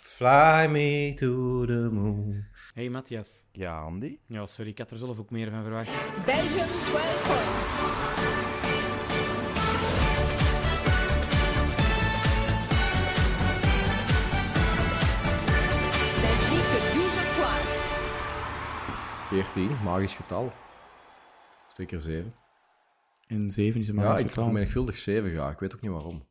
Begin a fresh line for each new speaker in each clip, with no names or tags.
Fly me to the moon.
Hey Matthias.
Ja, Andy?
Ja, sorry, ik had er zelf ook meer van verwacht.
Belgium 12 points. Belgique 12 points.
14, magisch getal. 2 keer 7.
En 7 is een
Ja,
magisch
ik
getal.
vermenigvuldig 7 graag. Ik weet ook niet waarom.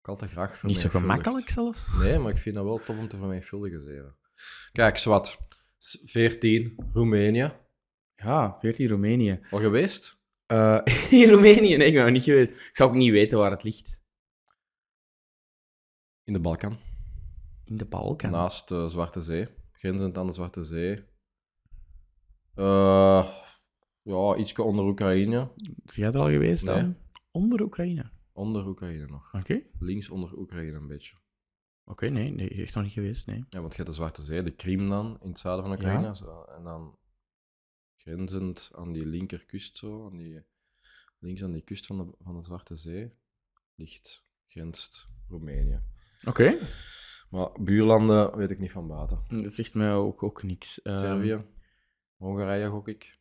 Ik altijd graag
Niet zo
vermenigvuldigd.
gemakkelijk zelfs.
Nee, maar ik vind dat wel tof om te vermenigvuldigen 7. Kijk, zwart. 14, Roemenië.
Ja.
14 Roemenië.
Al geweest?
Eh, in Roemenië? Nee, ik ben nog niet geweest. Ik zou ook niet weten waar het ligt.
In de Balkan.
In de Balkan.
Naast de Zwarte Zee. Grenzend aan de Zwarte Zee. Eh ja, ietsje onder Oekraïne.
Zijn jij er al geweest dan?
Nee.
Onder Oekraïne. Oké.
Onder Oekraïne nog.
Oké,
Links onder Oekraïne een beetje.
nee, nee, echt nog niet geweest, nee.
Ja, want je hebt de Zwarte Zee, de Krim dan, in het zuiden van Oekraïne.
Ja.
Zo, en dan grenzend aan die linkerkust zo, aan die, links aan die kust van de, van de Zwarte Zee, ligt, grenst Roemenië.
Oké.
Maar buurlanden weet ik niet van baten.
Dat zegt mij ook, ook niks. Ehm,
Servië, Hongarije gok ik.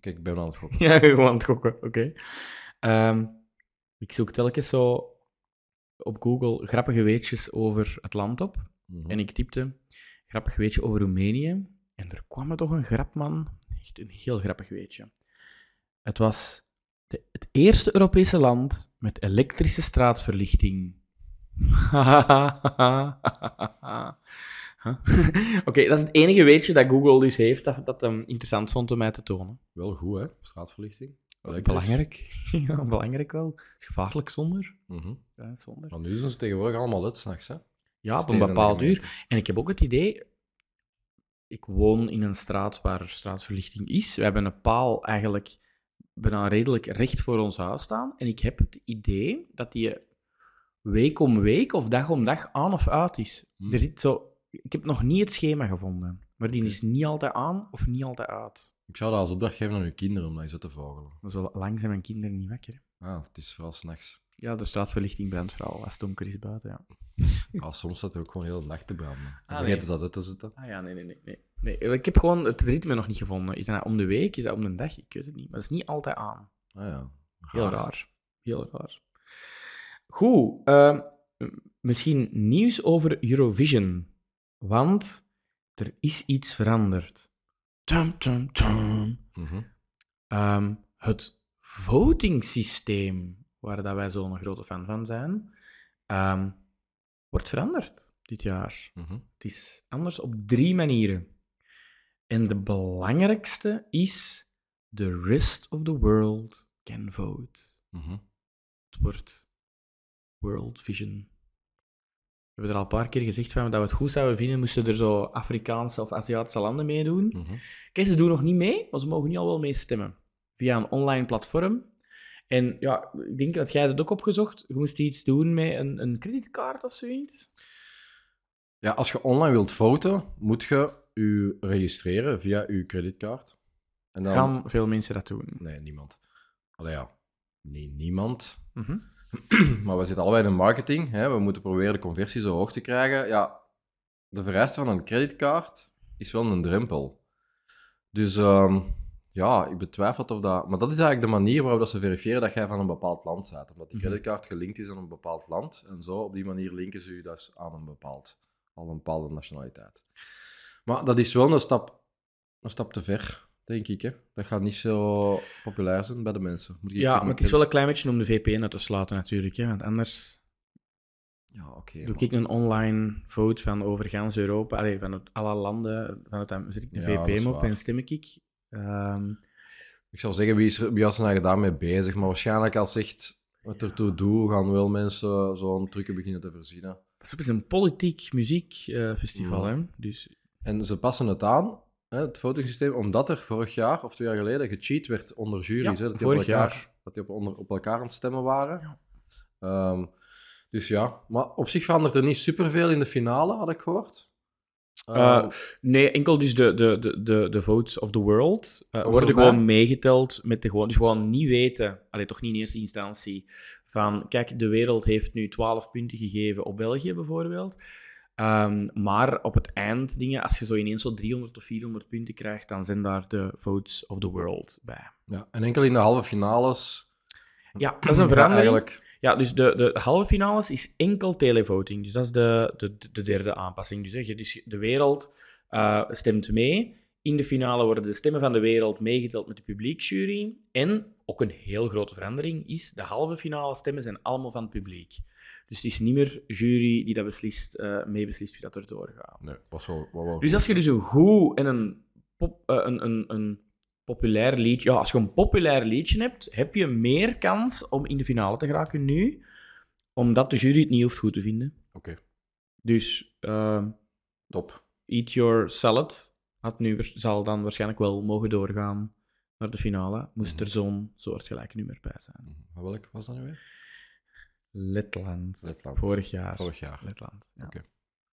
Kijk, ik ben aan het gokken.
Ja, gewoon aan het gokken, oké. Ehm, ik zoek telkens zo op Google grappige weetjes over het land op.
Mhm.
En ik typte grappig weetje over Roemenië. En er kwam er toch een grap, man. Echt een heel grappig weetje. Het was de- het eerste Europese land met elektrische straatverlichting. Huh? Oké, dat is het enige weetje dat Google dus heeft dat, dat hem interessant vond om mij te tonen.
Wel goed, hè? Straatverlichting. Elektrisch.
Belangrijk.
dus.
ja, belangrijk wel. Het is gevaarlijk zonder.
Mhm.
Ja, zonder.
Maar nu zijn ze tegenwoordig allemaal uit s'nachts, hè?
Ja, op een
Steden en
bepaald uur.
gemeenten.
En ik heb ook het idee, ik woon in een straat waar straatverlichting is. We hebben een paal eigenlijk bijna redelijk recht voor ons huis staan. En ik heb het idee dat die week om week of dag om dag aan of uit is.
Hmm.
Er zit zo, ik heb nog niet het schema gevonden, maar die is niet altijd aan of niet altijd uit.
Ik zou dat als opdracht geven aan uw kinderen om dat eens uit te vogelen.
Maar zo lang zijn mijn kinderen niet wakker. hè.
Ah, het is vooral s'nachts.
Ja, de straatverlichting brandt vooral als het donker is buiten. Ja.
Ah, soms staat er ook gewoon heel de nacht te branden. Dan
Ah,
vergeten
nee.
ze dat uit te zetten.
Ah ja, nee, nee, nee, nee. nee. eh, Ik heb gewoon het ritme nog niet gevonden. Is dat nou om de week? Is dat om de dag? Ik weet het niet. Maar dat is niet altijd aan.
Ah ja.
Heel raar. Heel raar. Goed. eh, misschien nieuws over Eurovision. Want er is iets veranderd. Tum, tum, tum.
Mhm.
Ehm, het votingsysteem, waar dat wij zo'n grote fan van zijn, ehm, wordt veranderd dit jaar.
mhm.
Het is anders op drie manieren. En de belangrijkste is: the rest of the world can vote.
mhm.
Het wordt World Vision. We hebben er al een paar keer gezegd van dat we het goed zouden vinden, moesten er zo Afrikaanse of Aziatische landen meedoen.
Mhm.
Kijk, ze doen nog niet mee, maar ze mogen nu al wel meestemmen. Via een online platform. En ja, ik denk dat jij dat ook opgezocht. Je moest iets doen met een, een creditcard of zoiets.
Ja, als je online wilt voten, moet je je registreren via je creditcard. En dan...
Gaan veel mensen dat doen?
Nee, niemand. Allee, ja. Nee, niemand.
Mhm.
maar we zitten allebei in de marketing. Hè? We moeten proberen de conversie zo hoog te krijgen. Ja, de vereiste van een creditcard is wel een drempel. Dus ehm, ja, ik betwijfel of dat... Maar dat is eigenlijk de manier waarop dat ze verifiëren dat jij van een bepaald land bent. Omdat die
Mhm.
creditcard gelinkt is aan een bepaald land. En zo, op die manier linken ze je dus aan een bepaald... Al een bepaalde nationaliteit. Maar dat is wel een stap, een stap te ver, denk ik. Hè? Dat gaat niet zo populair zijn bij de mensen. Moet ik
Ja,
eerlijk
maar het is wel
zeggen.
een klein beetje om de VPN uit te sluiten natuurlijk. Hè? Want anders
Ja, oké.
doe
maar-
ik een online vote van over gans Europa, allee, vanuit alle landen, vanuit, dan zet ik de
Ja, dat is
VPN op
waar.
en stem ik. ik. Ehm,
Ik zou zeggen, wie, is er, wie was er nou daarmee bezig? Maar waarschijnlijk als echt het ertoe doet, gaan wel mensen zo'n trucje beginnen te verzinnen.
pas op, het is een politiek muziekfestival,
Ja.
hè? Dus
En ze passen het aan, hè, het votingsysteem, omdat er vorig jaar of twee jaar geleden gecheat werd onder juries.
Ja,
hè, dat die
vorig
op elkaar,
jaar.
Dat die op, onder, op elkaar aan het stemmen waren. Ehm, dus ja, maar op zich verandert er niet superveel in de finale, had ik gehoord.
Eh,
Ehm,
Nee, enkel dus de, de, de, de, de votes of the world eh,
Ook
worden
nog
gewoon
maar.
meegeteld met de gewoon... Dus gewoon niet weten, allee, toch niet in eerste instantie, van kijk, de wereld heeft nu 12 punten gegeven op België bijvoorbeeld. Ehm, maar op het eind dingen, als je zo ineens zo 300 of 400 punten krijgt, dan zijn daar de votes of the world bij.
Ja, en enkel in de halve finales.
Ja, dat is een
Hm. ja,
verandering.
eigenlijk.
Ja, dus de, de halve finales is enkel televoting. Dus dat is de, de, de derde aanpassing. Dus, hè, je- dus de wereld eh, stemt mee. In de finale worden de stemmen van de wereld meegeteld met de publiekjury. En ook een heel grote verandering is, de halve finale stemmen zijn allemaal van het publiek. Dus het is niet meer jury die dat beslist, eh meebeslist wie dat er doorgaat.
Nee, was wel. wel, wel-
Dus als je dus een goed en een, pop, eh, een, een, een populair liedje... Ja, als je een populair liedje hebt, heb je meer kans om in de finale te geraken nu, omdat de jury het niet hoeft goed te vinden.
Oké,
Dus eh,
top.
Eat Your Salad had nu, waars- zal dan waarschijnlijk wel mogen doorgaan naar de finale, moest er zo'n soortgelijk nummer bij zijn.
Maar Hm, welk was dat nu weer?
Letland.
Letland.
Vorig jaar.
Vorig jaar.
Letland. Ja.
Oké.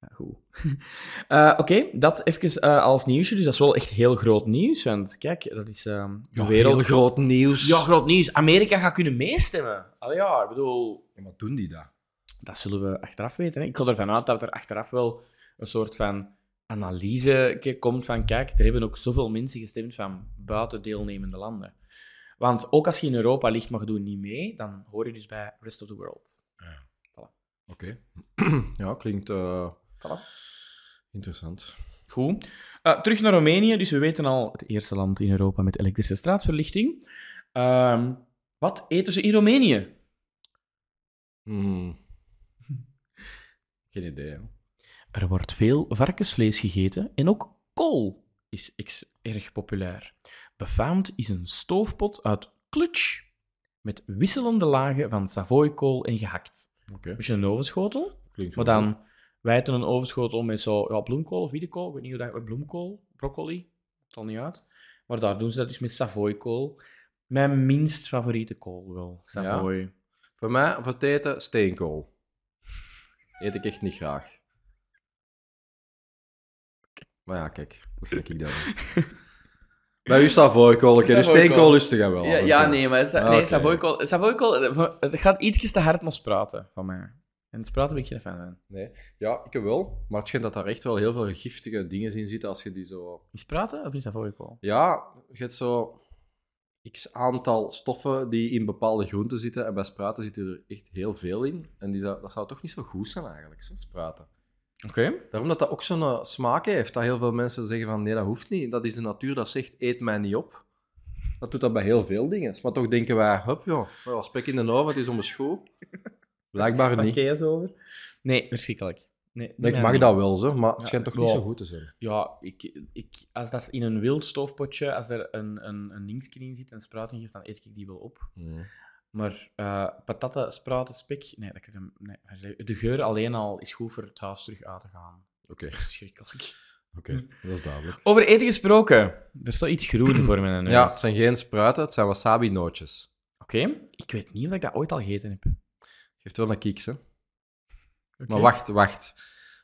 Ja, goed. Eh, Oké, dat even eh, als nieuwsje. Dus dat is wel echt heel groot nieuws. Want kijk, dat is ehm, de
Ja,
wereld.
heel groot nieuws.
Ja, groot nieuws. Amerika gaat kunnen meestemmen. Allee, ja, ik bedoel,
En wat doen die daar?
dat zullen we achteraf weten. Hè? Ik ga ervan uit dat er achteraf wel een soort van analyse ke- komt van kijk, er hebben ook zoveel mensen gestemd van buiten deelnemende landen. Want ook als je in Europa ligt, maar je doet niet mee, dan hoor je dus bij Rest of the World.
Oké. ja, klinkt eh,
Voilà.
interessant.
Goed. Eh, terug naar Roemenië. Dus we weten al, het eerste land in Europa met elektrische straatverlichting. Ehm, wat eten ze in Roemenië?
Hmm. Geen idee, hè?
Er wordt veel varkensvlees gegeten en ook kool is ex- erg populair. Befaamd is een stoofpot uit klutsch met wisselende lagen van savoykool en gehakt.
Oké,
Dus een ovenschotel,
klinkt
maar
wel
dan wijten een ovenschotel met zo ja, bloemkool of wiedekool, ik weet niet hoe dat bloemkool, broccoli, het al niet uit. Maar daar doen ze dat dus met savoykool. Mijn minst favoriete kool wel, savoy.
goed. Voor mij, voor het eten, steenkool. Eet ik echt niet graag. Maar ja, kijk, hoe zeg ik dat? Bij u staat voorkolen,
Savoykool.
steenkool lustig wel.
Ja, ja, nee, maar sa-
Ah,
nee,
oké.
Savoykool, Savoykool, eh, voor- het gaat ietsjes te hard naar spruiten van mij. En het spruiten ben ik geen fan van.
Nee. Ja, ik wel. Maar het schijnt dat daar echt wel heel veel giftige dingen in zitten als je die zo...
Is spruiten of is Savoykool?
Ja, je hebt zo x aantal stoffen die in bepaalde groenten zitten. En bij spruiten zitten er echt heel veel in. En die zou, dat zou toch niet zo goed zijn eigenlijk, zo, spruiten.
Oké.
Daarom dat dat ook zo'n eh, smaak heeft. Dat heel veel mensen zeggen van nee, dat hoeft niet. Dat is de natuur dat zegt, eet mij niet op. Dat doet dat bij heel veel dingen. Maar toch denken wij, hup joh, wel, spek in de oven, het is om de school. Blijkbaar niet.
eens over? Nee, verschrikkelijk. Nee,
Nee, ik
nee,
mag
nee.
dat wel, zo, maar het schijnt toch niet
wel.
zo goed te zijn.
Ja, ik, ik, als dat in een wild stoofpotje, als er een, een, een linkje in zit en spruiten geeft, dan eet ik die wel op. Maar eh patatten, spruiten, spek, nee, dat kan, nee, de geur alleen al is goed voor het huis terug uit te gaan.
Oké,
Verschrikkelijk.
oké, dat is duidelijk.
Over eten gesproken. Er staat iets groen voor mijn neus.
Ja, het zijn geen spruiten, het zijn wasabi-nootjes.
Oké, ik weet niet of ik dat ooit al gegeten heb.
Geeft wel een kiks, hè? Maar wacht, wacht.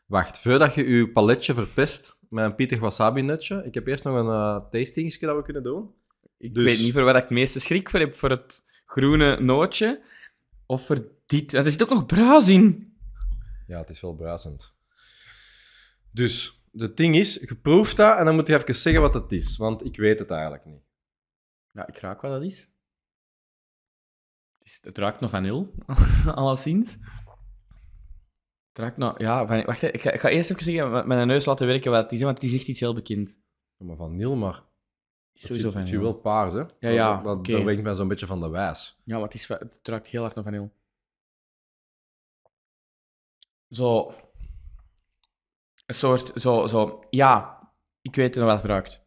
Wacht, voordat je je paletje verpest met een pittig wasabi-nutje, ik heb eerst nog een eh tastingsje dat we kunnen doen.
ik
dus-
weet niet voor waar ik het meeste schrik voor heb. Voor het groene nootje of voor dit. Er zit ook nog bruis in.
Ja, het is wel bruisend. Dus, het ding is, je proeft dat en dan moet je even zeggen wat het is, want ik weet het eigenlijk niet.
Ja, ik raak wat dat is. Het, is, het ruikt naar vanil, alleszins. Het ruikt naar... Ja, van, wacht, hè, ik ga, ik ga eerst even zeggen, met mijn neus laten werken wat het is, hè, want het is echt iets heel bekend. Het
Ja, maar van Niel, maar
is
het
sowieso
zit, het zit
vanil.
wel paars, hè?
Ja, ja,
Dat, dat,
oké.
dat wenkt mij zo'n beetje van de wijs.
Ja, maar het, is, wa- het ruikt heel hard naar vanil. Zo. Een soort, zo, zo. Ja, ik weet naar wat het ruikt.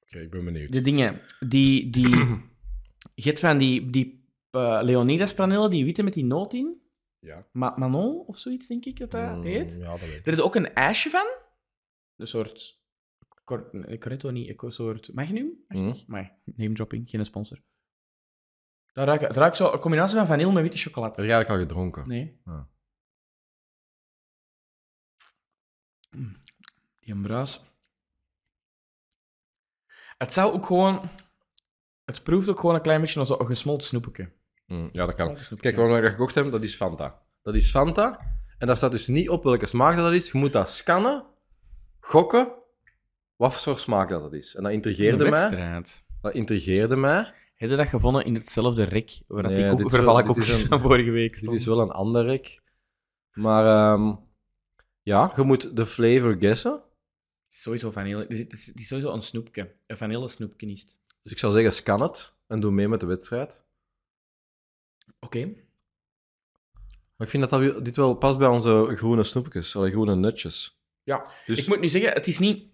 Oké, ik ben benieuwd.
De dingen die. die je hebt van die, die eh, Leonidas-panelen, die witte met die noot in.
Ja.
Ma Manon of zoiets, denk ik dat dat
Mm,
heet.
Ja, dat weet ik.
Er is ook een ijsje van. Een soort. Cor nee, Corretto niet, een soort Magnum.
Mm.
Maar name dropping, geen sponsor. Dat ruikt, het ruikt zo een combinatie van vanille met witte chocolade.
Heb je eigenlijk al gedronken?
Nee.
Ja.
Mm, Die bruis. Het zou ook gewoon... Het proeft ook gewoon een klein beetje als een gesmolten snoepje.
Mm, ja, dat kan.
Snoepje.
Kijk, wat we gekocht hebben, dat is Fanta. Dat is Fanta. En daar staat dus niet op welke smaak dat is. Je moet dat scannen, gokken, wat voor smaak dat dat is. En dat intrigeerde mij.
wedstrijd.
Dat intrigeerde mij.
Heb je dat gevonden in hetzelfde rek waar dat
Nee,
die
dit
koek,
is
vervallen
wel- dit is
koekjes
een-
van vorige week
Dit is
stonden?
wel een ander rek. Maar ehm, ja, je moet de flavor guessen.
Sowieso vanille. Dit is, dit is- dit is sowieso een snoepje. Een vanille snoepje is het.
Dus ik zou zeggen, scan het en doe mee met de wedstrijd.
Oké.
Maar ik vind dat, dat wel- dit wel past bij onze groene snoepjes, alle groene nutjes.
Ja.
Dus,
Ik moet nu zeggen, het is niet,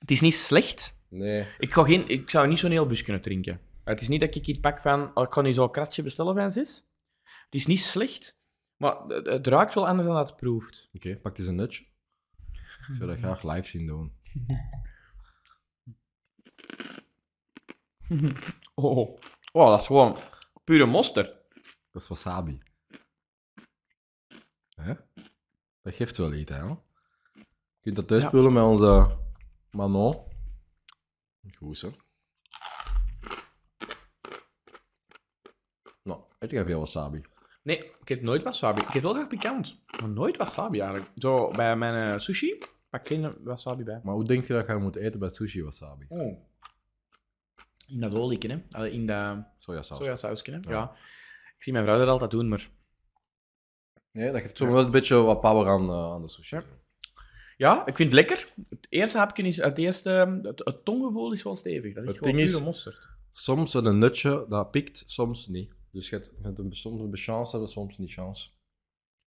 het is niet slecht.
Nee.
Ik, ga geen, ik zou niet zo'n heel bus kunnen drinken. Het is niet dat ik iets pak van, oh, ik kan nu zo'n kratje bestellen van zes. Het is niet slecht, maar het, het ruikt wel anders dan dat het proeft.
Oké, Mm. pak eens een nutje. Ik zou dat graag live zien doen.
Oh, oh dat is gewoon pure monster.
Dat is wasabi. Hè? Dat geeft wel iets, hè? Je kunt dat thuis
Ja.
spullen met onze Manon. Goed, hè? Nou, eet jij veel wasabi?
Nee, ik heb nooit wasabi. Ik heb wel graag pikant, maar nooit wasabi eigenlijk. Zo, bij mijn eh, sushi pak ik geen wasabi bij.
Maar hoe denk je dat je moet eten bij sushi wasabi?
Oh. In dat olieken, hè. Allee, in dat
Sojasaus.
sojasausje, hè. Ja.
Ja.
Ik zie mijn vrouw dat altijd doen, maar...
Nee, dat geeft zo wel een beetje wat power aan, eh, aan de sushi.
Ja. Ja, ik vind het lekker. Het eerste hapje is... Het eerste... Het, het tonggevoel is wel stevig. Dat is
Het
gewoon
ding
pure
is-
mosterd.
Soms een nutje, dat pikt, soms niet. Dus je hebt, je hebt een, soms een chance hebben, soms niet chance.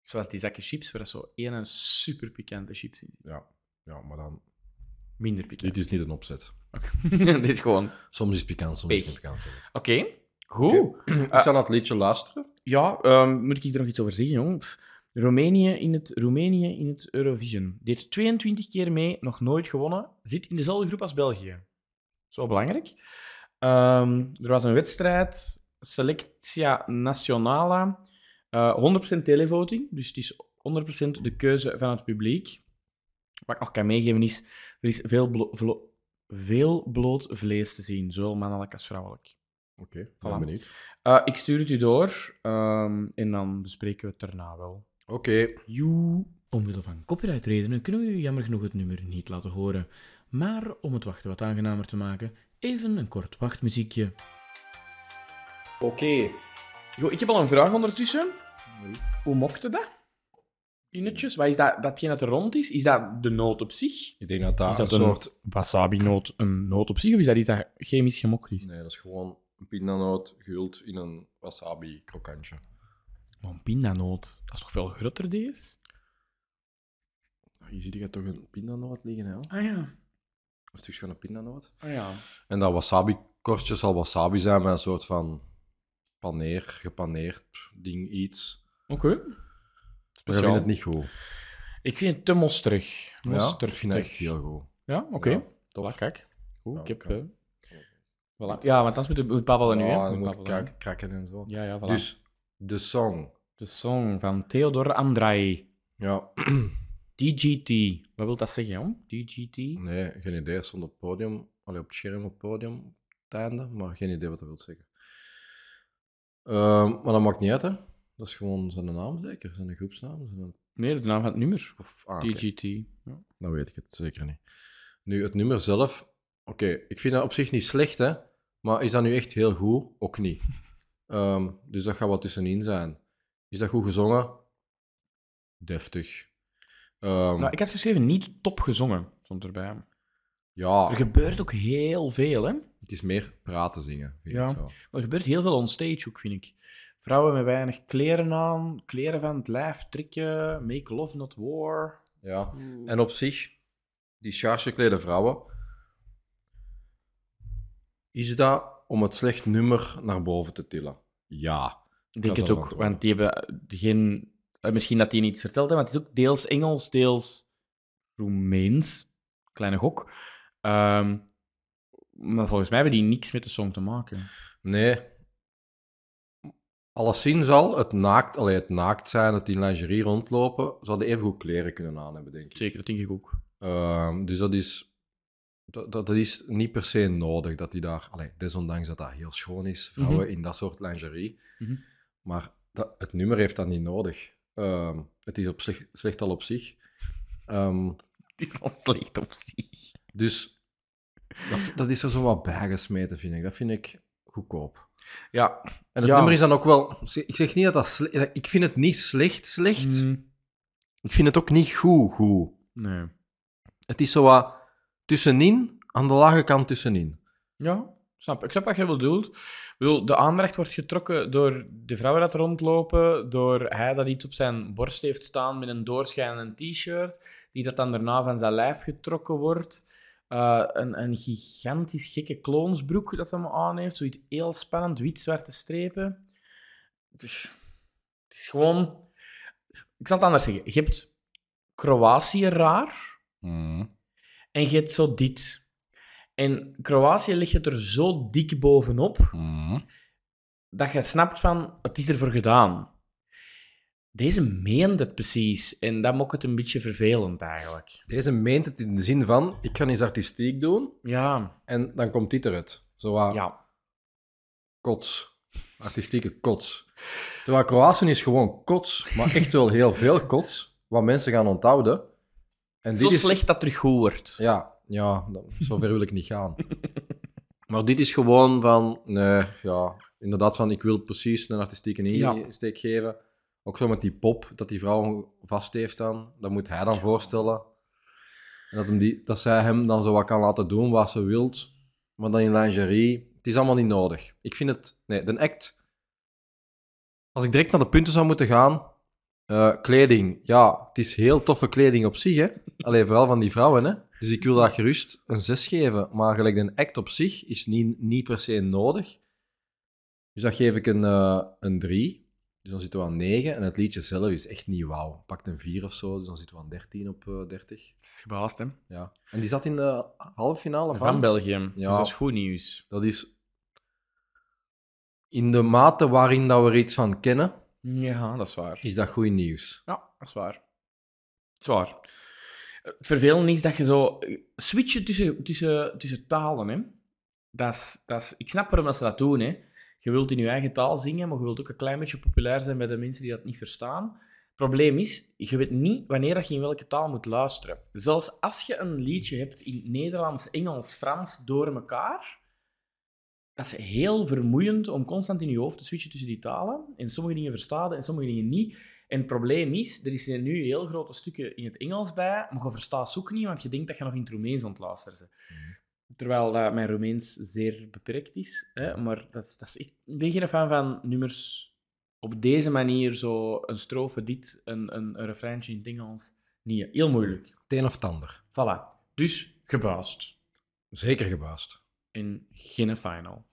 Zoals die zakken chips, waar dat zo ene super pikante chips in zit.
Ja, ja maar dan...
Minder pikant.
Dit is niet een opzet.
Dit is gewoon... Oké,
Soms is pikant, soms
Pik.
is niet pikant.
goed.
Ik zal naar het liedje luisteren.
Ja, ehm, moet ik er nog iets over zeggen, jong? Pff, Roemenië in het, Roemenië in het Eurovision. Deed 22 keer mee, nog nooit gewonnen. Zit in dezelfde groep als België. Zo belangrijk. Ehm, er was een wedstrijd, Selectia Nationala. eh 100% televoting, dus het is 100% de keuze van het publiek. Wat ik nog kan meegeven is, er is veel, blo- vlo- veel bloot vlees te zien, zowel mannelijk als vrouwelijk.
Oké, ik
Voilà.
ben benieuwd.
Eh, ik stuur het u door ehm, en dan bespreken we het daarna wel.
Oké.
Joe. Omwille van copyrightredenen kunnen we u jammer genoeg het nummer niet laten horen. Maar om het wachten wat aangenamer te maken, even een kort wachtmuziekje.
Oké.
Goh, ik heb al een vraag ondertussen. Hoe mokte dat? Innetjes, wat is dat, datgene dat er rond is? Is dat de noot op zich?
Ik denk dat dat,
Is dat
een
een-
soort...
Wasabi-noot een noot op zich, of is dat iets dat chemisch gemokt is?
Nee, dat is gewoon een pindanoot gehuld in een wasabi-krokantje.
Maar een pindanoot, dat is toch veel groter, deze?
Ah, Hier zie je toch een pindanoot liggen, hè?
Ah ja,
Een stukje van een pindanoot.
ah ja.
En dat wasabi-korstje zal wasabi zijn met een soort van paneer, gepaneerd ding, iets.
Oké.
Maar ik vind het niet goed.
Ik vind het te mosterig.
ja, ik
Mosterig.
vind het echt heel goed.
Ja, oké.
Ja,
Voilà,
tof.
kijk. Goed,
Ja,
ik heb...
oké.
eh, voilà. Ja, want anders moet het Oh, moet babbelen nu, hè.
Ja, dan Oh, moet
babbelen, hè.
krak- krakken en zo.
Ja, ja, voilà. Dus...
Dus, de song.
De song van Theodor Andrei.
Ja,
DGT. Wat wil dat zeggen, jong? DGT?
nee, geen idee. Het stond op het podium, allee, op het scherm op het podium, op het einde, maar geen idee wat dat wil zeggen. Ehm, maar dat maakt niet uit, hè. Dat is gewoon zijn naam zeker, zijn groepsnaam. Zijn...
Nee, de naam van het nummer.
Of, ah, oké.
DGT. Ja.
Dan weet ik het zeker niet. Nu, het nummer zelf. Oké, ik vind dat op zich niet slecht, hè. Maar is dat nu echt heel goed? Ook niet. Ehm, dus dat gaat wat tussenin zijn. Is dat goed gezongen? Deftig. Ehm,
Nou, ik had geschreven niet top gezongen, stond erbij.
Ah.
Er
Ja,
gebeurt ook heel veel, hè.
het is meer praten zingen. Vind
Ja.
ik zo.
Maar er gebeurt heel veel onstage ook, vind ik. Vrouwen met weinig kleren aan, kleren van het lijf trekken, make love not war.
ja. En op zich, die sjaars geklede vrouwen. Is dat om het slecht nummer naar boven te tillen? Ja.
Ik denk het
Dat wel
ook,
antwoord.
want die hebben geen... eh, Misschien dat die niets verteld hebben, want het is ook deels Engels, deels Roemeens. Kleine gok. Ehm, maar volgens mij hebben die niks met de song te maken.
Nee. Alleszins al, het naakt, allee, het naakt zijn, het in lingerie rondlopen, ze hadden even goed kleren kunnen aan hebben, denk ik.
Zeker, dat denk ik ook.
Ehm, dus dat is, dat, dat dat is niet per se nodig, dat die daar... Allee, desondanks dat dat heel schoon is, vrouwen in dat soort lingerie.
Mhm.
Maar dat, het nummer heeft dat niet nodig. ehm, het is op zich, slecht al op zich. Ehm,
Het is al slecht op zich.
dus dat, dat is er zo wat bijgesmeten, vind ik. Dat vind ik goedkoop.
Ja.
En het
Ja.
nummer is dan ook wel... Ik zeg niet dat dat... sle- dat- Ik vind het niet slecht slecht.
Mm,
Ik vind het ook niet goed goed.
Nee.
Het is zo wat tussenin, aan de lage kant tussenin.
Ja, snap. Ik snap wat je bedoelt. Ik bedoel, de aandacht wordt getrokken door de vrouwen dat rondlopen, door hij dat iets op zijn borst heeft staan met een doorschijnend t-shirt, die dat dan daarna van zijn lijf getrokken wordt. Eh, een, een gigantisch gekke kloonsbroek dat hem aan heeft, zoiets heel spannend, wit-zwarte strepen. Dus het is gewoon... Ik zal het anders zeggen. Je hebt Kroatië raar, en je hebt zo dit. En Kroatië ligt het er zo dik bovenop
Mhm.
dat je snapt van het is ervoor gedaan. Deze meent het precies en dat maakt het een beetje vervelend eigenlijk.
Deze meent het in de zin van, ik ga iets artistiek doen
Ja,
en dan komt dit eruit. Zo wat
ja.
kots. Artistieke kots. Terwijl Kroatië is gewoon kots, maar echt wel heel veel kots, wat mensen gaan onthouden. En
Zo slecht dat terug goed wordt.
Ja, ja dat- zover wil ik niet gaan. Maar dit is gewoon van, nee, ja, inderdaad van, ik wil precies een artistieke
Ja.
insteek geven. Ook zo met die pop, dat die vrouw vast heeft dan, dat moet hij dan voorstellen. En dat, hem die, dat zij hem dan zo wat kan laten doen wat ze wilt, maar dan in lingerie. Het is allemaal niet nodig. Ik vind het, nee, de act, als ik direct naar de punten zou moeten gaan, eh, kleding, ja, het is heel toffe kleding op zich, hè. Alleen vooral van die vrouwen, hè. Dus ik wil daar gerust een 6 geven. Maar gelijk een act op zich is niet, niet per se nodig. Dus dat geef ik een, eh, een 3. Dus dan zitten we aan 9. En het liedje zelf is echt niet wauw. Pakt een 4 of zo, dus dan zitten we aan 13 op eh 30.
Dat is gebaasd, hè?
Ja. En die zat in de halve finale van...
Van België.
Ja.
Dus dat is goed nieuws.
Dat is in de mate waarin dat we er iets van kennen,
Ja, dat is waar.
is dat goed nieuws.
Ja, dat is waar. Dat is waar. Het vervelende is dat je zo... eh, Switchen tussen, tussen, tussen talen, hè. Dat is, dat is, ik snap waarom dat ze dat doen, hè. Je wilt in je eigen taal zingen, maar je wilt ook een klein beetje populair zijn bij de mensen die dat niet verstaan. Het probleem is, je weet niet wanneer dat je in welke taal moet luisteren. Zelfs als je een liedje hebt in Nederlands, Engels, Frans door elkaar, dat is heel vermoeiend om constant in je hoofd te switchen tussen die talen. En sommige dingen verstaan je en sommige dingen niet. En het probleem is, er zijn nu heel grote stukken in het Engels bij, maar je verstaat ze ook niet, want je denkt dat je nog in het Roemeens aan het luisteren bent.
Mhm.
Terwijl dat mijn Roemeens zeer beperkt is. Hè? Maar dat, is- dat is, ik ben geen fan van nummers op deze manier zo een strofe dit, een, een, een refreintje in het Engels. Nee, heel moeilijk.
Het een of het ander.
Voilà. Dus gebaasd.
Zeker gebaasd.
En geen final.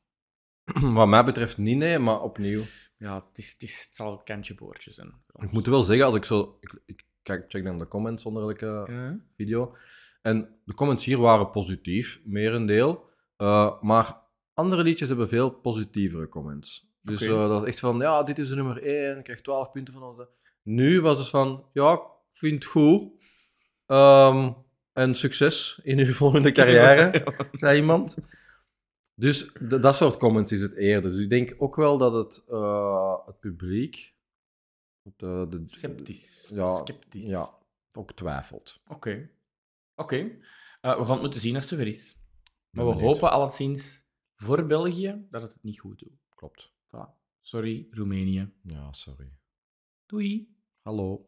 Wat mij betreft niet, nee, maar opnieuw.
Ja, het, is, het, is, het zal een kantje boordje zijn.
Ik moet wel zeggen, als ik zo... Ik, ik kijk, check dan de comments onder elke
Ja.
video. En de comments hier waren positief, merendeel. Eh maar andere liedjes hebben veel positievere comments. Dus
Oké.
eh, dat is echt van, ja, dit is de nummer 1, ik krijg 12 punten van ons. Nu was het van, ja, ik vind het goed. Ehm, en succes in uw volgende carrière, zei iemand. Dus d- dat soort comments is het eerder. Dus ik denk ook wel dat het, eh, het publiek... De, de,
Sceptisch.
Ja,
Sceptisch.
Ja, ook twijfelt.
Oké. Oké. Eh, we gaan het moeten zien als het zover is. Maar we
Ben benieuwd.
hopen alleszins voor België dat het het niet goed doet.
Klopt.
Voilà. Sorry, Roemenië.
Ja, sorry.
Doei.
Hallo.